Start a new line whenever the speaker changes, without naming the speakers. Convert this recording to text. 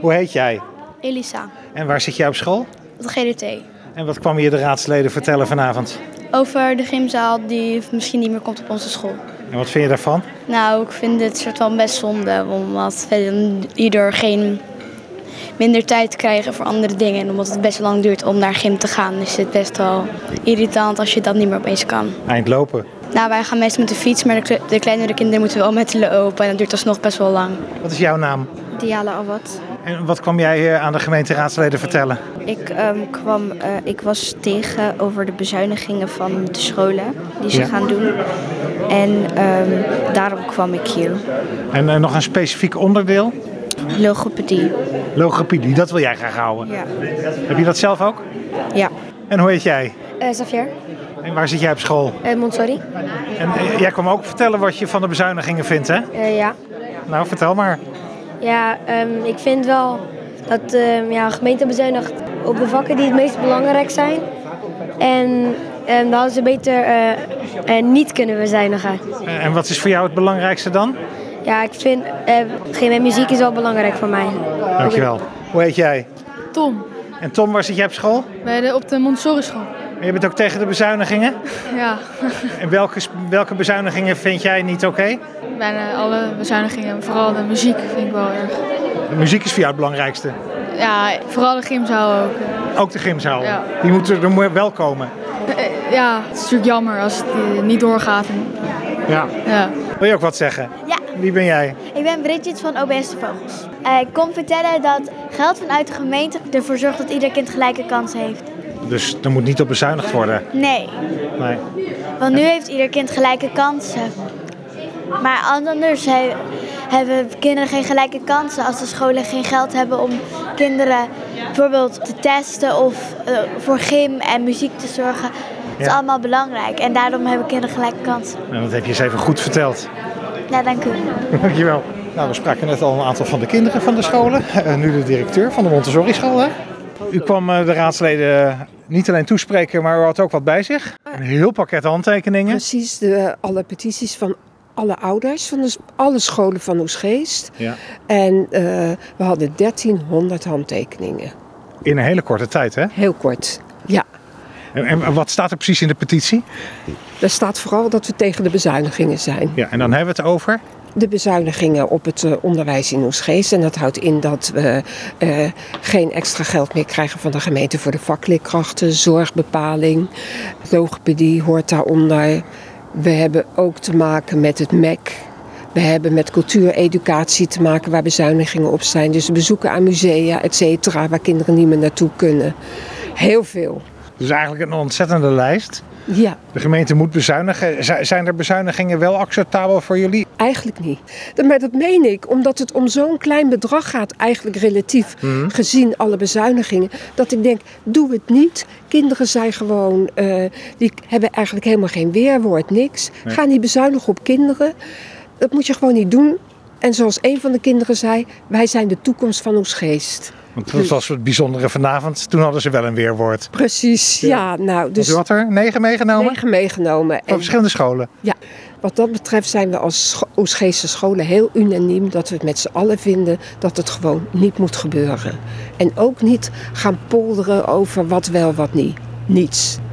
Hoe heet jij?
Elisa,
En waar zit jij op school?
de GDT.
En wat kwam je de raadsleden vertellen vanavond?
Over de gymzaal die misschien niet meer komt op onze school.
En wat vind je daarvan?
Nou, ik vind dit soort van best zonde, omdat verder ieder geen minder tijd krijgen voor andere dingen. En omdat het best lang duurt om naar gym te gaan, is het best wel irritant als je dat niet meer opeens kan.
Eindlopen.
Nou, wij gaan meestal met de fiets, maar de, kle- de kleinere kinderen moeten wel met de lopen. En dat duurt alsnog best wel lang.
Wat is jouw naam?
Diala Awad.
En wat kwam jij eh, aan de gemeenteraadsleden vertellen?
Ik, ehm, kwam, eh, ik was tegen over de bezuinigingen van de scholen die ze
Ja.
gaan doen. En ehm, daarom kwam ik hier.
En eh, nog een specifiek onderdeel?
Logopedie.
Logopedie, dat wil jij graag houden.
Ja.
Heb je dat zelf ook?
ja.
En hoe heet jij?
Eh Xavier,
En waar zit jij op school?
Eh Montsori.
En eh, jij kwam ook vertellen wat je van de bezuinigingen vindt, hè?
Eh, ja,
Nou, vertel maar.
ja ehm, ik vind wel dat ehm ja, gemeente bezuinigt op de vakken die het meest belangrijk zijn. En ehm dan hadden ze beter eh, eh, niet kunnen bezuinigen.
Eh, En wat is voor jou het belangrijkste dan?
Ja, ik vind eh, geen muziek is wel belangrijk voor mij.
Dankjewel. Hoe heet jij?
Tom,
En Tom, waar zit jij op school?
bij de, op de Montessori school.
En je bent ook tegen de bezuinigingen?
Ja,
En welke, welke bezuinigingen vind jij niet oké?
bijna alle bezuinigingen, vooral de muziek vind ik wel erg.
De muziek is voor jou het belangrijkste.
Ja, vooral de gymzaal ook. eh.
Ook de gymzaal.
Ja.
Die moeten er mo- wel komen.
Eh, Ja, het is natuurlijk jammer als het eh, niet doorgaat. En,
Ja.
ja.
Wil je ook wat zeggen?
Ja.
Wie ben jij?
Ik ben Bridget van OBS de Vogels. Eh, ik kom vertellen dat geld vanuit de gemeente ervoor zorgt dat ieder kind gelijke kansen heeft.
Dus er moet niet op bezuinigd worden.
Nee,
Nee.
want nu heeft ieder kind gelijke kansen. Maar anders he- hebben kinderen geen gelijke kansen als de scholen geen geld hebben om kinderen bijvoorbeeld te testen of eh, voor gym en muziek te zorgen. Dat is
Ja.
allemaal belangrijk en daarom hebben kinderen gelijke kansen.
En dat heb je eens even goed verteld.
Ja, dank u.
Dankjewel. Nou, we spraken net al een aantal van de kinderen van de scholen. Eh, nu de directeur van de Montessori school. Hè? U kwam eh, de raadsleden niet alleen toespreken, maar u had ook wat bij zich. Een heel pakket handtekeningen.
Precies, de, alle petities van alle ouders, van de, s- alle scholen van Oesgeest.
Ja.
En eh, we hadden 1300 handtekeningen.
In een hele korte tijd, hè?
Heel kort. Ja,
En, en wat staat er precies in de petitie?
daar staat vooral dat we tegen de bezuinigingen zijn.
Ja, en dan hebben we het over.
De bezuinigingen op het eh, onderwijs in Oesgeest. En dat houdt in dat we eh, geen extra geld meer krijgen van de gemeente voor de vakleerkrachten, zorgbepaling, logopedie hoort daaronder. We hebben ook te maken met het MEC. We hebben met cultuureducatie te maken waar bezuinigingen op zijn. Dus bezoeken aan musea, et cetera, waar kinderen niet meer naartoe kunnen. Heel veel.
Dus eigenlijk een ontzettende lijst.
Ja.
De gemeente moet bezuinigen. Z- zijn er bezuinigingen wel acceptabel voor jullie?
Eigenlijk niet. Maar dat meen ik, omdat het om zo'n klein bedrag gaat, eigenlijk relatief gezien alle bezuinigingen. Dat ik denk, doe het niet. Kinderen zijn gewoon, eh, die hebben eigenlijk helemaal geen weerwoord, niks. Ga niet bezuinigen op kinderen. Dat moet je gewoon niet doen. En zoals een van de kinderen zei, wij zijn de toekomst van ons geest.
Want dat was het bijzondere vanavond. Toen hadden ze wel een weerwoord.
Precies, ja. nou,
Dus u
dus
had er negen meegenomen?
negen meegenomen.
Van
En
verschillende scholen.
Ja, wat dat betreft zijn we als scho- Oesgeese scholen heel unaniem dat we het met z'n allen vinden dat het gewoon niet moet gebeuren. En ook niet gaan polderen over wat wel, wat niet. Niets.